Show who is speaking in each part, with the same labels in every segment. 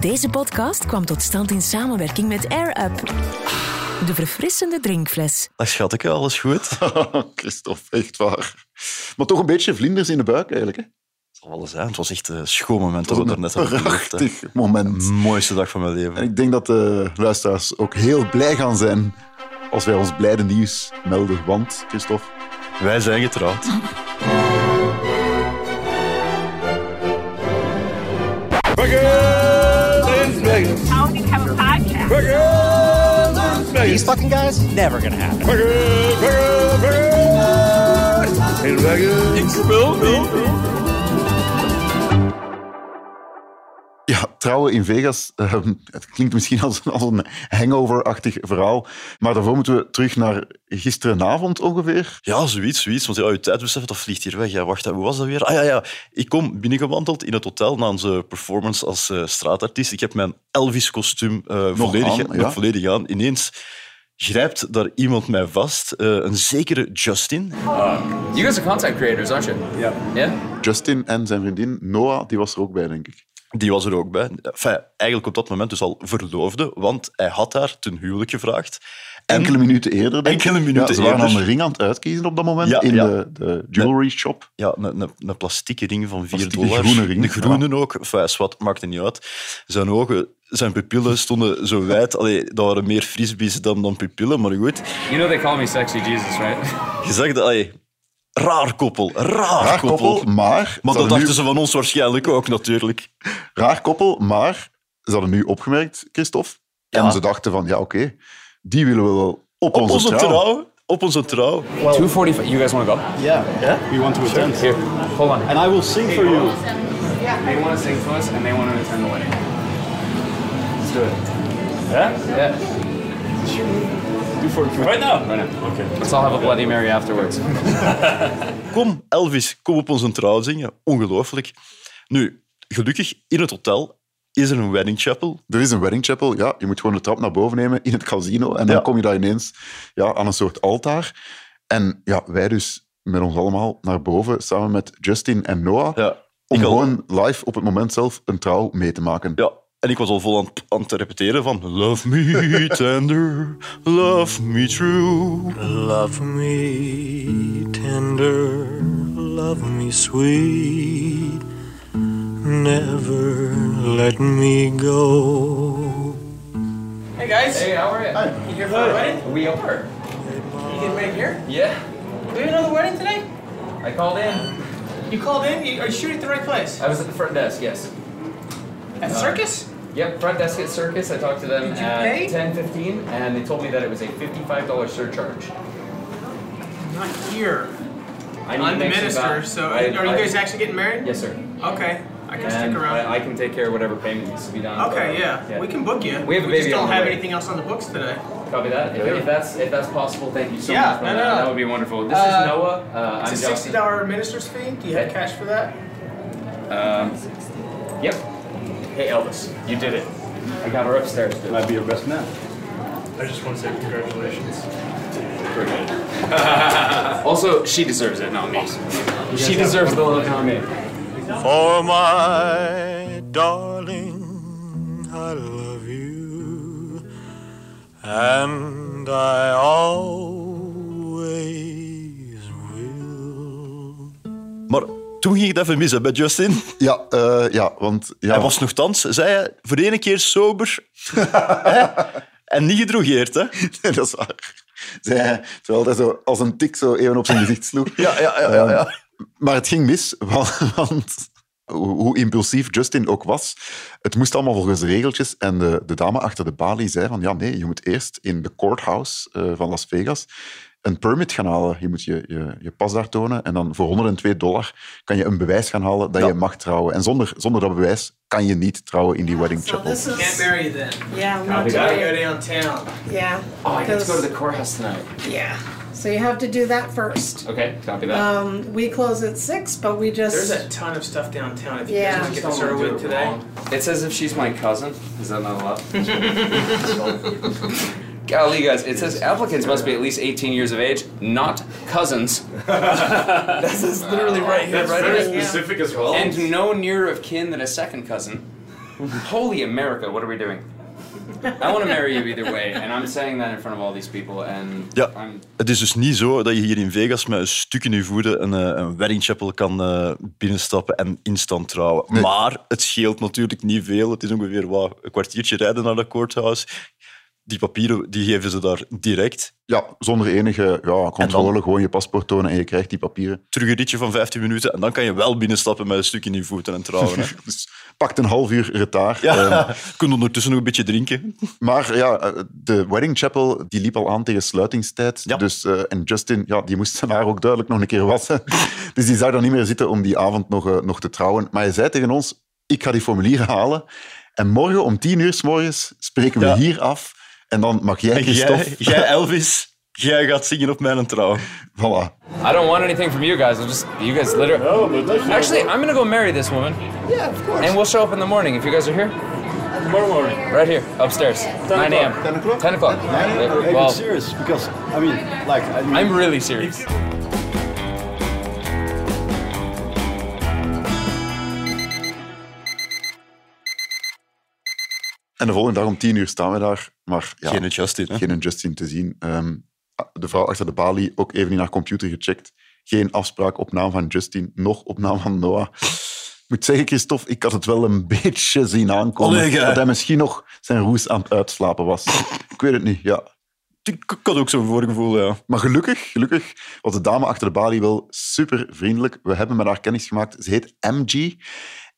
Speaker 1: Deze podcast kwam tot stand in samenwerking met Air Up. De verfrissende drinkfles.
Speaker 2: Dat schat ik, alles goed.
Speaker 3: Oh, Christophe, echt waar. Maar toch een beetje vlinders in de buik eigenlijk. Hè?
Speaker 2: Het zal wel eens zijn. Het was echt een schoon moment dat we
Speaker 3: Dat
Speaker 2: daarnet
Speaker 3: was
Speaker 2: hebben
Speaker 3: een
Speaker 2: beleefd, hè. Mm.
Speaker 3: prachtig moment.
Speaker 2: De mooiste dag van mijn leven.
Speaker 3: En ik denk dat de luisteraars ook heel blij gaan zijn als wij ons blijde nieuws melden. Want, Christophe,
Speaker 2: Wij zijn getrouwd.
Speaker 3: ja, trouwen in Vegas, eh, het klinkt misschien als, als een hangover-achtig verhaal. Maar daarvoor moeten we terug naar gisterenavond ongeveer.
Speaker 2: Ja, zoiets, zoiets. Want ja, je tijdbesef, dat vliegt hier weg. Ja, wacht, hoe was dat weer? Ah ja, ja. Ik kom binnengewandeld in het hotel na onze performance als eh, straatartiest. Ik heb mijn Elvis-kostuum eh, volledig,
Speaker 3: aan,
Speaker 2: nog
Speaker 3: ja.
Speaker 2: volledig aan. Ineens grijpt daar iemand mij vast. Eh, een zekere Justin.
Speaker 4: You guys are content creators, aren't you? Yeah. Yeah?
Speaker 3: Justin en zijn vriendin Noah, die was er ook bij, denk ik.
Speaker 2: Die was er ook bij. Enfin, eigenlijk op dat moment dus al verloofde, want hij had haar ten huwelijk gevraagd. En
Speaker 3: Enkele minuten eerder, denk ik.
Speaker 2: Enkele minuten
Speaker 3: ja, ze waren
Speaker 2: eerder.
Speaker 3: aan de ring aan het uitkiezen op dat moment
Speaker 2: Ja,
Speaker 3: in
Speaker 2: ja.
Speaker 3: de, de jewelry shop.
Speaker 2: ja, een, een, een plastieke ring van 4
Speaker 3: Plastieke
Speaker 2: dollar.
Speaker 3: groene ring,
Speaker 2: De groene ook. Enfin, wat maakt het niet uit. Zijn ogen, zijn pupillen stonden zo wijd. Allee, dat waren meer frisbees dan, dan pupillen, maar goed.
Speaker 4: You know they call me sexy Jesus, right?
Speaker 2: Je zag dat, allee, raar koppel, raar,
Speaker 3: Raar
Speaker 2: koppel.
Speaker 3: koppel, maar...
Speaker 2: Maar
Speaker 3: ze
Speaker 2: dat
Speaker 3: hadden
Speaker 2: dachten
Speaker 3: nu-
Speaker 2: ze van ons waarschijnlijk ook, natuurlijk.
Speaker 3: Raar koppel, maar ze hadden nu opgemerkt, Christophe.
Speaker 2: Ja.
Speaker 3: En ze dachten van, ja, oké, die willen we wel op,
Speaker 2: Op
Speaker 3: onze,
Speaker 2: onze
Speaker 3: trouw.
Speaker 2: trouw. Op onze trouw.
Speaker 4: 245. You guys want to go?
Speaker 5: Yeah. Yeah. We want to attend.
Speaker 4: Here. Hold on.
Speaker 5: And I will sing for you.
Speaker 4: They want to sing to us and they want to attend the wedding. Let's do it. Yeah? Yeah. Right now. Right now. Okay. Let's all have a Bloody Mary afterwards.
Speaker 2: Kom, Elvis, kom op onze trouw zingen. Ongelooflijk. Nu, gelukkig, in het hotel is er een wedding chapel.
Speaker 3: Er is een wedding chapel, ja, je moet gewoon de trap naar boven nemen in het casino. En dan
Speaker 2: Ja.
Speaker 3: kom je daar ineens ja, aan een soort altaar. En ja, wij dus met ons allemaal naar boven, samen met Justin en Noah,
Speaker 2: Ja,
Speaker 3: om
Speaker 2: ik al-
Speaker 3: gewoon live op het moment zelf een trouw mee te maken.
Speaker 2: Ja, en ik was al vol aan, het- aan het repeteren van Love me tender, love me true.
Speaker 6: Love me tender, love me sweet. Never let me go.
Speaker 4: Hey guys. Hey, how are you? You here for the wedding? We are.
Speaker 7: You didn't make here?
Speaker 4: Yeah.
Speaker 7: We have another wedding today?
Speaker 4: I called in.
Speaker 7: You called in? You, are you shooting at the right place?
Speaker 4: I was at the front desk, yes.
Speaker 7: At the circus?
Speaker 4: Yep, front desk at Circus. I talked to them
Speaker 7: Did you
Speaker 4: at
Speaker 7: pay?
Speaker 4: 10:15, and they told me that it was a $55 surcharge.
Speaker 7: Not here.
Speaker 4: I need to
Speaker 7: I'm the
Speaker 4: make some
Speaker 7: minister,
Speaker 4: back.
Speaker 7: so
Speaker 4: I-
Speaker 7: are you
Speaker 4: I-
Speaker 7: guys actually getting married?
Speaker 4: Yes, sir.
Speaker 7: Okay, I can
Speaker 4: And
Speaker 7: stick around.
Speaker 4: I, I can take care of whatever payment needs to be done. Uh,
Speaker 7: okay, yeah. we can book you.
Speaker 4: We have a
Speaker 7: just
Speaker 4: baby
Speaker 7: don't
Speaker 4: on the
Speaker 7: have
Speaker 4: way.
Speaker 7: anything else on the books today.
Speaker 4: Copy that. If, if that's if that's possible, thank you so
Speaker 7: Yeah,
Speaker 4: much. for
Speaker 7: no,
Speaker 4: that.
Speaker 7: no, no.
Speaker 4: That would be wonderful. This
Speaker 7: Uh,
Speaker 4: is Noah. Uh, I'm
Speaker 7: It's a
Speaker 4: Justin.
Speaker 7: $60 minister's fee. Do you have
Speaker 4: Yeah.
Speaker 7: cash for that?
Speaker 4: Yep. Hey Elvis, you did it. I got her upstairs. Dude.
Speaker 5: Might be your best man.
Speaker 8: I just want to say congratulations.
Speaker 4: Also, she deserves it, not me. She deserves the love, not me.
Speaker 6: For Oh, my darling, I love you, and I always will.
Speaker 2: Maar toen ging ik het even mis hè, bij Justin.
Speaker 3: Ja, eh, ja want... Ja,
Speaker 2: Hij was nogthans, zei hij, voor de ene keer sober. Hè? en niet gedrogeerd, hè.
Speaker 3: Nee, dat is waar. Zei hij, terwijl hij zo als een tik zo even op zijn gezicht sloeg. Ehm,
Speaker 2: Ja, ja, ja, ja. ja.
Speaker 3: Maar het ging mis, want, want hoe hoe impulsief Justin ook was, het moest allemaal volgens de regeltjes. En de, de dame achter de balie zei van, ja, nee, je moet eerst in de courthouse eh, van Las Vegas een permit gaan halen. Je moet je, je, je pas daar tonen en dan voor 102 dollar kan je een bewijs gaan halen dat je mag trouwen. En zonder, zonder dat bewijs kan je niet trouwen in die wedding chapel.
Speaker 7: Can't marry you then.
Speaker 9: Yeah,
Speaker 4: Copy
Speaker 9: we want
Speaker 7: Gotta
Speaker 4: that.
Speaker 9: to,
Speaker 7: go downtown.
Speaker 9: yeah.
Speaker 4: Oh, I get to go to
Speaker 9: because-
Speaker 4: the courthouse tonight.
Speaker 9: Yeah, so you have to do that first.
Speaker 4: Okay, copy that.
Speaker 9: Um, we close at six, but we
Speaker 7: There's
Speaker 9: just
Speaker 7: a ton of stuff downtown if you
Speaker 9: Yeah.
Speaker 7: guys want to
Speaker 4: Just
Speaker 7: get
Speaker 4: don't
Speaker 7: started
Speaker 4: wanna do
Speaker 7: with
Speaker 4: it
Speaker 7: today.
Speaker 4: wrong. It says if she's my cousin. Is that not allowed? Golly, guys, it says applicants must be at least 18 years of age, not cousins. that says literally right here, right
Speaker 9: specific
Speaker 8: as well.
Speaker 4: And no nearer of kin than a second cousin. Holy America, what are we doing? I want to marry you either way, and I'm saying that in front of all these people, and
Speaker 2: Ja.
Speaker 4: I'm
Speaker 2: Het is dus niet zo dat je hier in Vegas met een stuk in je voeten een, eh, een wedding chapel kan eh, binnenstappen en instant trouwen. Maar het scheelt natuurlijk niet veel. Het is ongeveer wat, een kwartiertje rijden naar de courthouse. Die papieren die geven ze daar direct.
Speaker 3: Ja, zonder enige ja, controle, gewoon je paspoort tonen en je krijgt die papieren.
Speaker 2: Terug een ritje van 15 minuten en dan kan je wel binnenstappen met een stuk in je voeten en trouwen. Hè.
Speaker 3: Dus pakt een half uur retaar. Ehm,
Speaker 2: Ja, je kunt ondertussen nog een beetje drinken.
Speaker 3: Maar ja, eh, de wedding chapel die liep al aan tegen sluitingstijd.
Speaker 2: Ja.
Speaker 3: Dus, eh, en Justin, ja, die moest zijn haar ook duidelijk nog een keer wassen. Dus die zou dan niet meer zitten om die avond nog, eh, nog te trouwen. Maar hij zei tegen ons, ik ga die formulieren halen. En morgen om tien uur s morgens spreken we
Speaker 2: Ja.
Speaker 3: hier af. En dan mag jij,
Speaker 2: En
Speaker 3: Christophe...
Speaker 2: jij, jij, Elvis, jij gaat zingen op mijn trouw.
Speaker 3: Voilà.
Speaker 4: I don't want anything from you guys. I'll just you guys literally.
Speaker 8: No, but that's
Speaker 4: Actually, I'm gonna go marry this woman. Yeah, of course. And we'll show up in the morning if you guys are here.
Speaker 8: tomorrow morning.
Speaker 4: Right here, upstairs. 9 a.m.
Speaker 5: 10 o'clock?
Speaker 4: 10 o'clock.
Speaker 5: I'm
Speaker 4: Yeah,
Speaker 5: even
Speaker 4: well,
Speaker 5: serious because I mean, like, I mean,
Speaker 4: I'm really serious.
Speaker 3: En de volgende dag om tien uur staan we daar. Maar ja,
Speaker 2: Geen Justin, hè?
Speaker 3: geen een Justin te zien. Ehm, de vrouw achter de balie ook even in haar computer gecheckt. Geen afspraak op naam van Justin, nog op naam van Noah. Ik moet zeggen, Christophe, ik had het wel een beetje zien aankomen.
Speaker 2: Allee, gij.
Speaker 3: dat hij misschien nog zijn roes aan het uitslapen was. Ik weet het niet, ja.
Speaker 2: Ik ik had ook zo'n voorgevoel, ja.
Speaker 3: Maar gelukkig, gelukkig was de dame achter de balie wel super vriendelijk. We hebben met haar kennis gemaakt. Ze heet MG.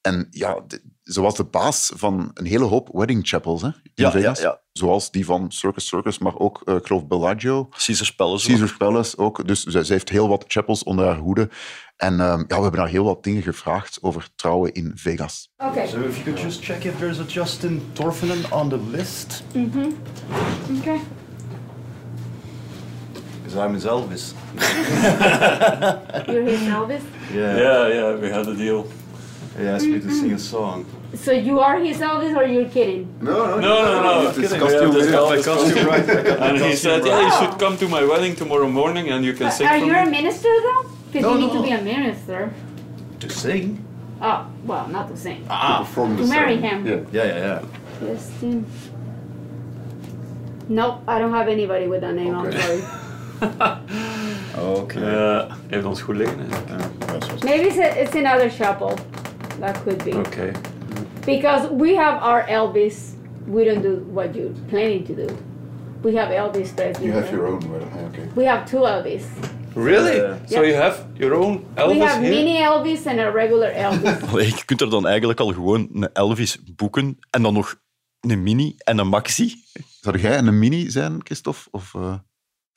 Speaker 3: En ja, de- ze was de baas van een hele hoop wedding chapels hè, in
Speaker 2: Ja,
Speaker 3: Vegas.
Speaker 2: ja, ja.
Speaker 3: Zoals die van Circus Circus, maar ook, eh, ik geloof, Bellagio.
Speaker 2: Caesar's Palace.
Speaker 3: Caesar's Palace ook. Dus zij, zij heeft heel wat chapels onder haar hoede. En ehm, ja, we hebben haar heel wat dingen gevraagd over trouwen in Vegas.
Speaker 9: Okay.
Speaker 5: So if you could just check if there's a Justin Torfinen on the list.
Speaker 9: Okay.
Speaker 5: Because I'm his Elvis.
Speaker 10: You're his Elvis?
Speaker 5: Yeah.
Speaker 8: Yeah, yeah, we had a deal.
Speaker 5: He asked me to sing a song.
Speaker 10: So you are his Elvis or you're kidding?
Speaker 5: No,
Speaker 8: No, no, no.
Speaker 5: It's
Speaker 8: kidding.
Speaker 5: costume,
Speaker 8: We have this
Speaker 5: yeah,
Speaker 8: Elvis
Speaker 5: costume,
Speaker 8: costume.
Speaker 5: right. I got the
Speaker 8: And he
Speaker 5: costume
Speaker 8: said,
Speaker 5: right.
Speaker 8: yeah, you should come to my wedding tomorrow morning and you can
Speaker 10: But
Speaker 8: sing
Speaker 10: are
Speaker 8: for
Speaker 10: you a
Speaker 8: me.
Speaker 10: minister though? Because
Speaker 5: No,
Speaker 10: you need
Speaker 5: no.
Speaker 10: to be a minister.
Speaker 5: To sing?
Speaker 10: Oh, well, not the same.
Speaker 5: Ah,
Speaker 3: From
Speaker 10: To marry him.
Speaker 5: Yeah, yeah, yeah.
Speaker 10: Justin. Nope, I don't have anybody with that name,
Speaker 5: Okay.
Speaker 10: I'm sorry.
Speaker 5: Okay.
Speaker 8: Ja, heeft ons goed liggen. hè.
Speaker 10: Maybe it's, a, it's another chapel. That could be.
Speaker 8: Oké.
Speaker 10: Because we have our Elvis. We don't do what you're planning to do. We have Elvis Presley.
Speaker 3: own wedding, okay.
Speaker 10: We have two Elvis.
Speaker 8: Really? So
Speaker 10: Ja.
Speaker 8: you have your own Elvis
Speaker 10: we have
Speaker 8: here?
Speaker 10: mini Elvis and a regular Elvis.
Speaker 2: Allee, je kunt er dan eigenlijk al gewoon een Elvis boeken en dan nog een mini en een maxi.
Speaker 3: Zou jij een mini zijn, Christophe? Of, eh,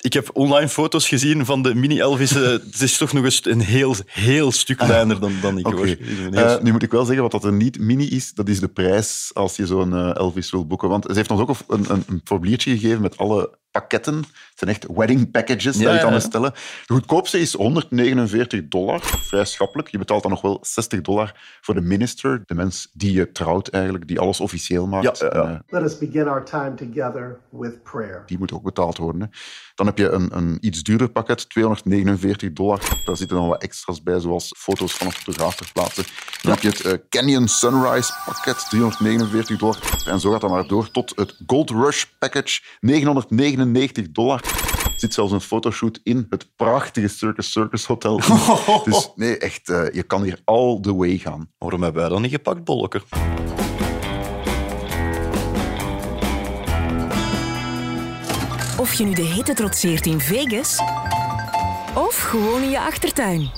Speaker 2: Ik heb online foto's gezien van de mini Elvis. Eh, Het is toch nog eens een heel, heel stuk kleiner dan, dan ik
Speaker 3: Ah, Oké.
Speaker 2: hoor. Het is een heel
Speaker 3: Eh,
Speaker 2: stuk-
Speaker 3: nu moet ik wel zeggen, wat dat er niet mini is, dat is de prijs als je zo'n eh, Elvis wil boeken. Want ze heeft ons ook een, een, een formuliertje gegeven met alle pakketten. Het zijn echt wedding packages
Speaker 2: Ja,
Speaker 3: dat je kan
Speaker 2: ja.
Speaker 3: bestellen. De goedkoopste is 149 dollar, vrij schappelijk. Je betaalt dan nog wel 60 dollar voor de minister, de mens die je trouwt eigenlijk, die alles officieel maakt.
Speaker 2: Ja, ja, ja.
Speaker 3: En, eh,
Speaker 6: Let us begin our time together with prayer.
Speaker 3: die moet ook betaald worden. Hè. Dan heb je een, een iets duurder pakket, 249 dollar. Daar zitten dan wat extra's bij, zoals foto's van een fotograaf plaatsen. Dan heb je het eh, Canyon Sunrise pakket, 349 dollar. En zo gaat dat maar door tot het Gold Rush package, 999 dollar. Er zit zelfs een fotoshoot in het prachtige Circus Circus Hotel. Dus nee, echt, eh, je kan hier all the way gaan.
Speaker 2: Waarom hebben wij dat niet gepakt, Bollokker?
Speaker 1: Of je nu de hitte trotseert in Vegas of gewoon in je achtertuin.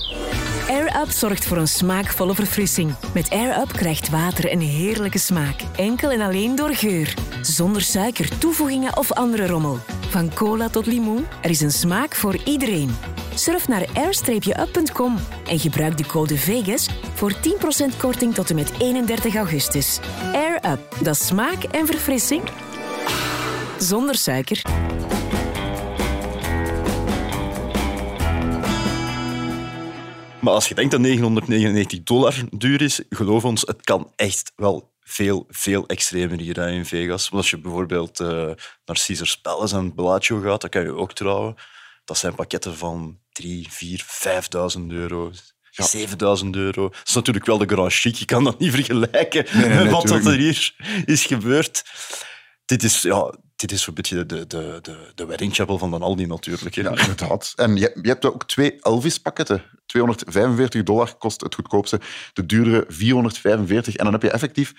Speaker 1: Air Up zorgt voor een smaakvolle verfrissing. Met Air Up krijgt water een heerlijke smaak. Enkel en alleen door geur. Zonder suiker, toevoegingen of andere rommel. Van cola tot limoen, er is een smaak voor iedereen. Surf naar air-up.com en gebruik de code VEGAS voor 10% korting tot en met 31 augustus. Air Up, dat is smaak en verfrissing zonder suiker.
Speaker 2: Maar als je denkt dat 999 dollar duur is, geloof ons, het kan echt wel veel, veel extremer hier hè, in Vegas. Want als je bijvoorbeeld eh, naar Caesars Palace en Bellagio gaat, dan kan je ook trouwen. Dat zijn pakketten van 3, 4, 5.000 euro. 7000 euro. Dat is natuurlijk wel de Grand Chic. Je kan dat niet vergelijken
Speaker 3: Nee, nee,
Speaker 2: met wat
Speaker 3: natuurlijk
Speaker 2: dat er hier is gebeurd. Dit is, ja, dit is zo'n beetje de, de, de, de wedding chapel van Dan Aldi natuurlijk. hè.
Speaker 3: Ja, inderdaad. En je, je hebt ook twee Elvis-pakketten. 245 dollar kost het goedkoopste, de duurdere 445. En dan heb je effectief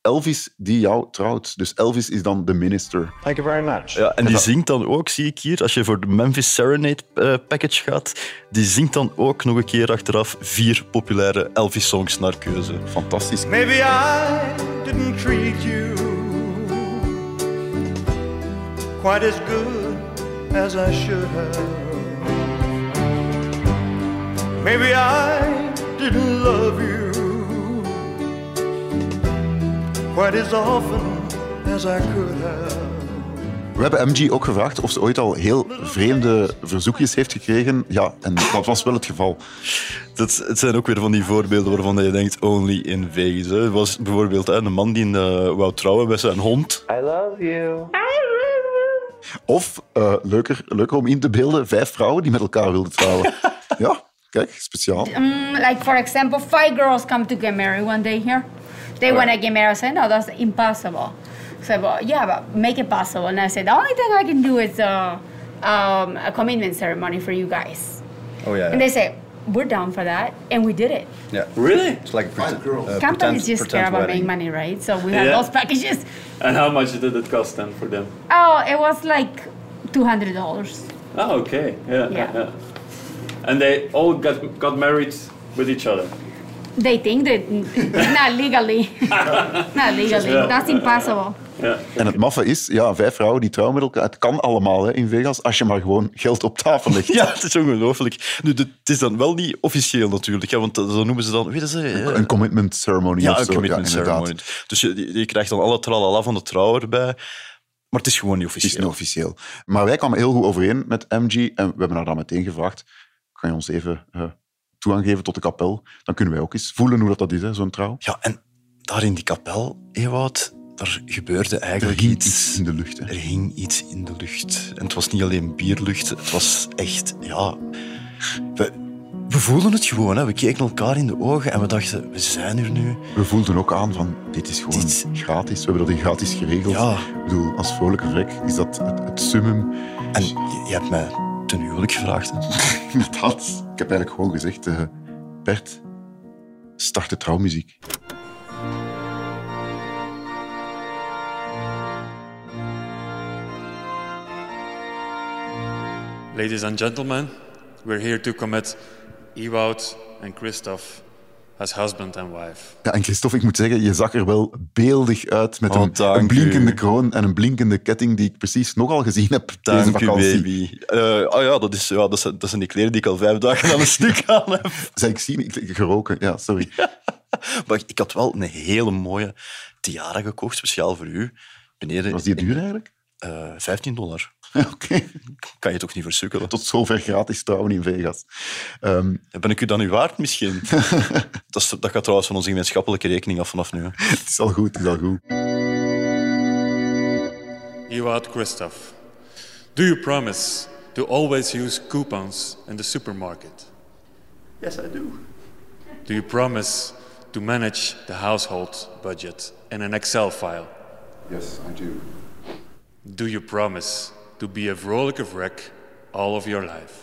Speaker 3: Elvis die jou trouwt. Dus Elvis is dan de minister.
Speaker 5: Thank you very much.
Speaker 2: Ja, en die zingt dan ook, zie ik hier, als je voor de Memphis Serenade eh, package gaat, die zingt dan ook nog een keer achteraf vier populaire Elvis-songs naar keuze.
Speaker 3: Fantastisch.
Speaker 5: Maybe I didn't treat you quite as good as I should have. Maybe I didn't love you quite as often as I could have.
Speaker 3: We hebben MG ook gevraagd of ze ooit al heel vreemde verzoekjes heeft gekregen. Ja, en
Speaker 2: Oh,
Speaker 3: dat was wel het geval.
Speaker 2: Dat, het zijn ook weer van die voorbeelden waarvan je denkt only in Vegas. Hè. Er was bijvoorbeeld hè, een man die eh, wou trouwen met zijn hond.
Speaker 3: Of, eh, leuker, leuker om in te beelden, vijf vrouwen die met elkaar wilden trouwen. Ja, kijk, speciaal.
Speaker 9: Like, for example, five girls come to get married one day here. They want to get married. I said, no, that's impossible. So, well, yeah, but make it possible. And I said, the only thing I can do is uh, um, a commitment ceremony for you guys.
Speaker 11: Oh yeah.
Speaker 9: And they say, we're down for that. And we did it.
Speaker 11: yeah.
Speaker 8: Really?
Speaker 11: It's like a pret- uh,
Speaker 9: Companies
Speaker 11: pretend-
Speaker 9: just care
Speaker 11: pretend
Speaker 9: about
Speaker 11: wedding.
Speaker 9: making money, right? So we had
Speaker 8: Yeah.
Speaker 9: those packages.
Speaker 8: And how much did it cost then for them?
Speaker 9: Oh, it was like $200.
Speaker 8: Oh, okay. Yeah.
Speaker 9: Yeah.
Speaker 8: yeah. yeah. And they all got got married with each other.
Speaker 9: They think that not legally, not legally.
Speaker 8: Yeah.
Speaker 9: That's impossible.
Speaker 8: Yeah.
Speaker 3: En het Eh, maffe is, ja, vijf vrouwen die trouwen met elkaar. Het kan allemaal hè, in Vegas, als je maar gewoon geld op tafel legt.
Speaker 2: Ja, het is ongelooflijk. Nu, dit- het is dan wel niet officieel natuurlijk, hè, want dat- dan noemen ze dan... Weet je, ze, eh,
Speaker 3: Een commitment ceremony
Speaker 2: ja,
Speaker 3: of
Speaker 2: een
Speaker 3: zo.
Speaker 2: commitment
Speaker 3: inderdaad.
Speaker 2: ceremony. Dus je, je- je krijgt dan alle tralala van de trouwer bij. Maar het is gewoon niet
Speaker 3: Het is
Speaker 2: officieel.
Speaker 3: niet officieel. Maar wij kwamen heel goed overeen met MG en we hebben haar dan meteen gevraagd, kan je ons even eh, toegang geven tot de kapel? Dan kunnen wij ook eens voelen hoe dat, dat is, hè, zo'n trouw.
Speaker 2: Ja, en daar in die kapel, Ewout, daar gebeurde
Speaker 3: Er
Speaker 2: eigenlijk
Speaker 3: ging
Speaker 2: iets.
Speaker 3: iets in de lucht. Hè.
Speaker 2: Er hing iets in de lucht. En het was niet alleen bierlucht, het was echt, ja... We, we voelden het gewoon, hè. we keken elkaar in de ogen en we dachten, we zijn er nu.
Speaker 3: We voelden ook aan van, dit is gewoon
Speaker 2: Dit-
Speaker 3: gratis. We hebben dat in gratis geregeld.
Speaker 2: Ja.
Speaker 3: Ik bedoel, als vrolijke vrek is dat het, het summum.
Speaker 2: En je, je hebt mij ten huwelijk gevraagd. hè.
Speaker 3: Inderdaad. Ik heb eigenlijk gewoon gezegd, eh, Bert, start de trouwmuziek.
Speaker 12: Ladies and gentlemen, we're here to commit Ewout and Christoph as husband and wife.
Speaker 3: Ja, en Christophe, ik moet zeggen, je zag er wel beeldig uit met
Speaker 2: Oh,
Speaker 3: een,
Speaker 2: dank
Speaker 3: een blinkende
Speaker 2: u.
Speaker 3: kroon en een blinkende ketting die ik precies nogal gezien heb deze
Speaker 2: Dank u,
Speaker 3: vakantie.
Speaker 2: baby. Eh, ah ja, dat, is, ja dat, zijn, dat zijn die kleren die ik al vijf dagen aan een stuk aan heb.
Speaker 3: Zei ik zien? Ik, ik- geroken, ja, sorry.
Speaker 2: Maar ik had wel een hele mooie tiara gekocht, speciaal voor u. Beneden,
Speaker 3: Was die duur eigenlijk?
Speaker 2: eh, 15 dollar.
Speaker 3: Oké,
Speaker 2: Kan je toch niet versukkelen?
Speaker 3: tot zover gratis trouwen in Vegas. Ehm,
Speaker 2: Ben ik u dan nu waard misschien? dat, is- dat gaat trouwens van onze gemeenschappelijke rekening af vanaf nu. hè.
Speaker 3: het is al goed, het is al goed.
Speaker 12: Ewout, Christoph, do you promise to always use coupons in the supermarket?
Speaker 5: Yes, I do.
Speaker 12: Do you promise to manage the household budget in an Excel file?
Speaker 11: Yes, I do.
Speaker 12: Do you promise to be a vrolijke wreck all of your life?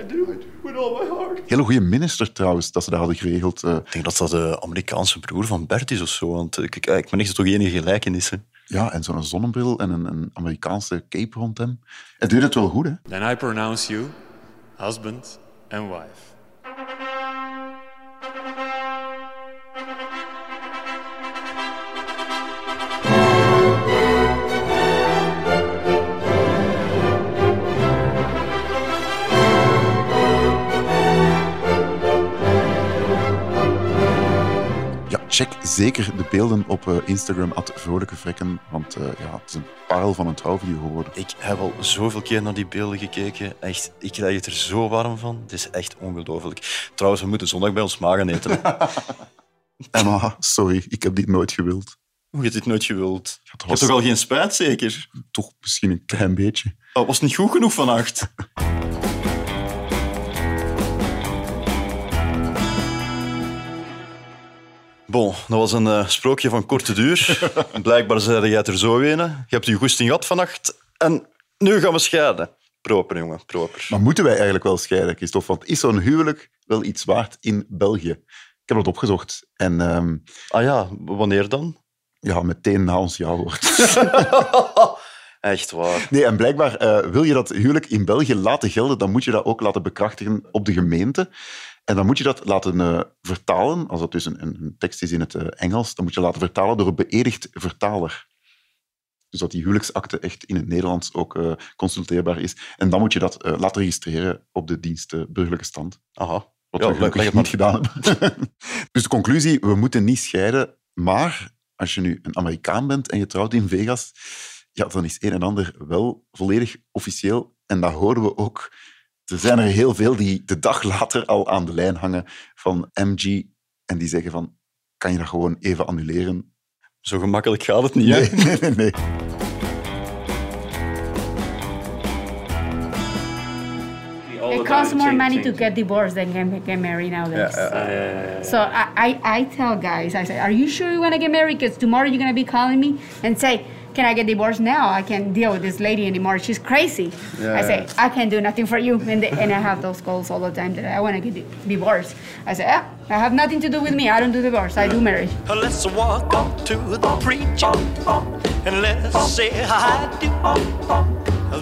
Speaker 5: I do. With all my heart.
Speaker 3: Hele goede minister trouwens, dat ze dat hadden geregeld. eh,
Speaker 2: Ik denk dat dat de Amerikaanse broer van Bert is of zo. Want ik, ik, ik ben echt toch enige gelijkenissen.
Speaker 3: ja, en zo'n zonnebril en een, een Amerikaanse cape rond hem. Het deed het wel goed, hè?
Speaker 12: Then I pronounce you husband and wife.
Speaker 3: Ja, check zeker de beelden op eh, Instagram, at vrolijke vrekken, want eh, ja, het is een parel van een trouwvideo geworden.
Speaker 2: Ik heb al zoveel keer naar die beelden gekeken. Echt, ik krijg het er zo warm van. Het is echt ongelooflijk. Trouwens, we moeten zondag bij ons magen eten. hè.
Speaker 3: Emma, sorry, ik heb dit nooit gewild.
Speaker 2: Hoe je dit nooit gewild? Je
Speaker 3: was-
Speaker 2: hebt toch al geen spijt, zeker?
Speaker 3: Toch misschien een klein beetje.
Speaker 2: Oh, was het niet goed genoeg vannacht? Bon, dat was een eh, sprookje van korte duur. Blijkbaar zei jij het er zo een. Je hebt je goesting gehad vannacht. En nu gaan we scheiden. Proper, jongen, proper.
Speaker 3: Maar moeten wij eigenlijk wel scheiden, Christophe? Want is zo'n huwelijk wel iets waard in België? Ik heb dat opgezocht. En, ehm,
Speaker 2: ah ja, wanneer dan?
Speaker 3: Ja, meteen na ons ja-woord.
Speaker 2: Echt waar.
Speaker 3: Nee, en blijkbaar eh, wil je dat huwelijk in België laten gelden, dan moet je dat ook laten bekrachtigen op de gemeente. En dan moet je dat laten eh, vertalen, als dat dus een, een tekst is in het eh, Engels, dan moet je laten vertalen door een beëdigd vertaler. Dus dat die huwelijksakte echt in het Nederlands ook eh, consulteerbaar is. En dan moet je dat eh, laten registreren op de dienst eh, burgerlijke stand.
Speaker 2: Aha.
Speaker 3: Wat
Speaker 2: Ja,
Speaker 3: we
Speaker 2: leg- leg
Speaker 3: gelukkig
Speaker 2: het
Speaker 3: niet gedaan hebben. dus de conclusie, we moeten niet scheiden. Maar als je nu een Amerikaan bent en je trouwt in Vegas, ja, dan is een en ander wel volledig officieel. En dat horen we ook. Er zijn er heel veel die de dag later al aan de lijn hangen van MG. En die zeggen van, kan je dat gewoon even annuleren?
Speaker 2: Zo gemakkelijk gaat het niet, hè?
Speaker 3: Nee, nee, nee. nee.
Speaker 9: It costs more money to get divorced than get, get married nowadays. So I, I, I tell guys, I say, are you sure you want to get married? Because tomorrow you're going to be calling me and say, can I get divorced now? I can't deal with this lady anymore. She's crazy. I say,
Speaker 13: Yeah.
Speaker 9: I can't do nothing for you. And, they, and I have those calls all the time that I want to get di- divorced. I say, ah, I have nothing to do with me. I don't do divorce. I do marriage.
Speaker 5: Let's walk up to the preacher and let's say I do.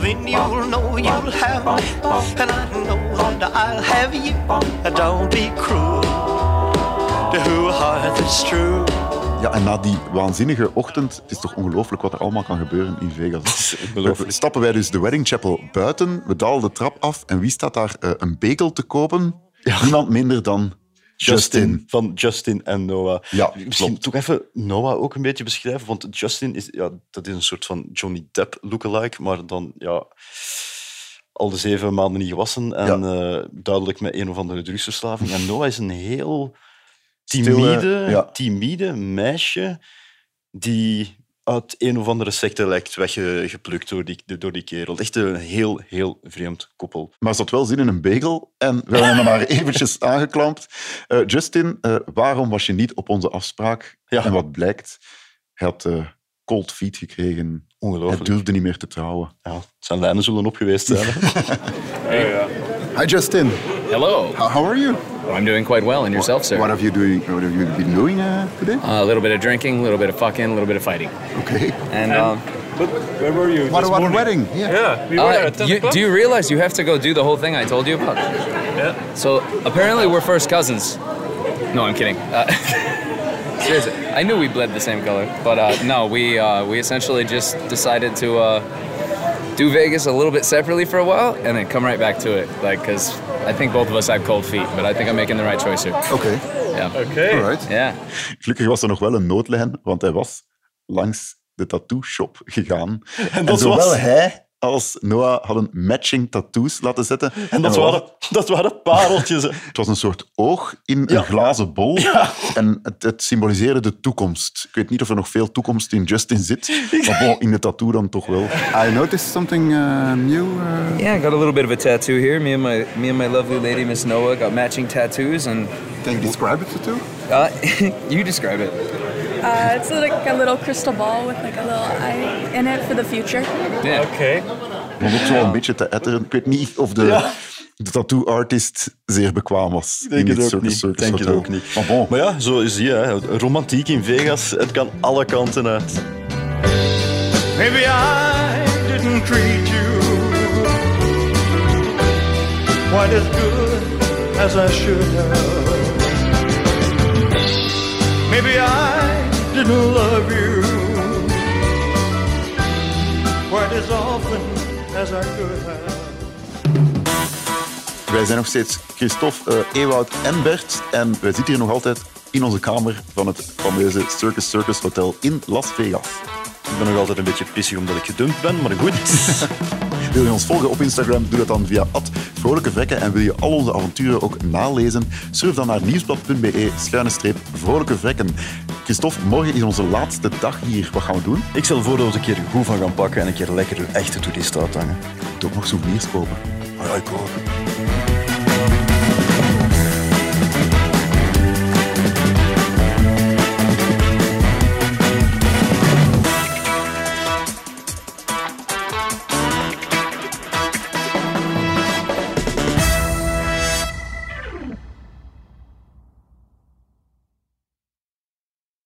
Speaker 5: Then you'll know you'll have me, and I know that I'll have you. Don't be cruel to who heart is true.
Speaker 3: Ja, en na die waanzinnige ochtend, het is toch ongelooflijk wat er allemaal kan gebeuren in Vegas. We- Stappen wij dus de Wedding Chapel buiten, we dalen de trap af en wie staat daar eh, een bagel te kopen? Niemand minder dan Justin.
Speaker 2: Van Justin en Noah.
Speaker 3: Ja,
Speaker 2: Misschien toch even Noah ook een beetje beschrijven. Want Justin is, ja, dat is een soort van Johnny Depp lookalike, maar dan ja, al de zeven maanden niet gewassen en eh, duidelijk met een of andere drugsverslaving. En Noah is een heel timide,
Speaker 3: Stille, eh, ja.
Speaker 2: timide meisje die uit een of andere secte lijkt weggeplukt door die, door die kerel. Echt een heel, heel vreemd koppel.
Speaker 3: Maar ze had wel zin in een bagel en we hebben hem maar eventjes aangeklampt. Eh, Justin, eh, waarom was je niet op onze afspraak? En wat blijkt, hij had eh, cold feet gekregen.
Speaker 2: Ongelooflijk.
Speaker 3: Hij durfde niet meer te trouwen.
Speaker 2: Ja, zijn lijnen zullen op geweest zijn.
Speaker 14: Hi, Justin.
Speaker 15: Hello.
Speaker 14: How, how are you?
Speaker 15: I'm doing quite well, and yourself, sir?
Speaker 14: What have you doing? What have you been doing uh, today?
Speaker 15: a little bit of drinking, a little bit of fucking, a little bit of fighting.
Speaker 14: Okay.
Speaker 15: And, um,
Speaker 8: But where were you?
Speaker 14: What
Speaker 15: this
Speaker 14: about the
Speaker 15: morning?
Speaker 14: wedding? Yeah.
Speaker 15: uh, you, do you realize you have to go do the whole thing I told you about? Yeah. So apparently we're first cousins. No, I'm kidding. Uh, seriously, I knew we bled the same color, but uh, no, we uh, we essentially just decided to uh, do Vegas a little bit separately for a while, and then come right back to it, like because I think both of us have cold feet, but I think I'm making the right choice here.
Speaker 14: Okay.
Speaker 15: Yeah.
Speaker 14: Okay. Alright.
Speaker 15: Yeah.
Speaker 3: Gelukkig was er nog wel een noodlijn, want hij was langs de tattoo shop gegaan. En,
Speaker 2: dat
Speaker 3: zowel
Speaker 2: was-
Speaker 3: hij als Noah hadden matching tattoos laten zetten.
Speaker 2: En dat
Speaker 3: er
Speaker 2: waren, dat waren pareltjes. hè.
Speaker 3: Het was een soort oog in een glazen bol. En het, het symboliseerde de toekomst. Ik weet niet of er nog veel toekomst in Justin zit. Maar bon, in de tattoo dan toch wel.
Speaker 14: I noticed something uh, new. Uh...
Speaker 15: Yeah, I got a little bit of a tattoo here. Me and my me and my lovely lady Miss Noah got matching tattoos, and
Speaker 14: can you describe the tattoo?
Speaker 15: Uh, you describe it.
Speaker 16: Uh, it's like a little crystal ball with like a little eye in it for the future.
Speaker 15: Okay.
Speaker 3: Om ook zo een beetje te etteren. Ik weet niet of de,
Speaker 16: Ja.
Speaker 3: de tattoo-artist zeer bekwaam was.
Speaker 2: Ik denk
Speaker 3: in
Speaker 2: het
Speaker 3: dit
Speaker 2: ook
Speaker 3: soort-
Speaker 2: niet.
Speaker 3: soort-
Speaker 2: Ik denk
Speaker 3: soort
Speaker 2: het ook
Speaker 3: tattoo.
Speaker 2: niet. Maar, ja, zo is die. Hè. Romantiek in Vegas, het kan alle kanten uit.
Speaker 5: Maybe I didn't treat you quite as good as I should have. Maybe I didn't love you quite as often as I could have.
Speaker 3: Wij zijn nog steeds Christophe, eh, Ewout en Bert. En wij zitten hier nog altijd in onze kamer van het fameuze Circus Circus Hotel in Las Vegas.
Speaker 2: Ik ben nog altijd een beetje pissig omdat ik gedumpt ben, maar goed.
Speaker 3: Wil je ons volgen op Instagram? Doe dat dan via vrolijke vrekken. En wil je al onze avonturen ook nalezen? Surf dan naar nieuwsblad.be schuine streep vrolijke vrekken. Christophe, morgen is onze laatste dag hier. Wat gaan we doen?
Speaker 2: Ik stel voor dat we een keer goed van gaan pakken en een keer lekker een echte toerist uithangen.
Speaker 3: Toch nog souvenirs kopen? Ah ja, ik ook.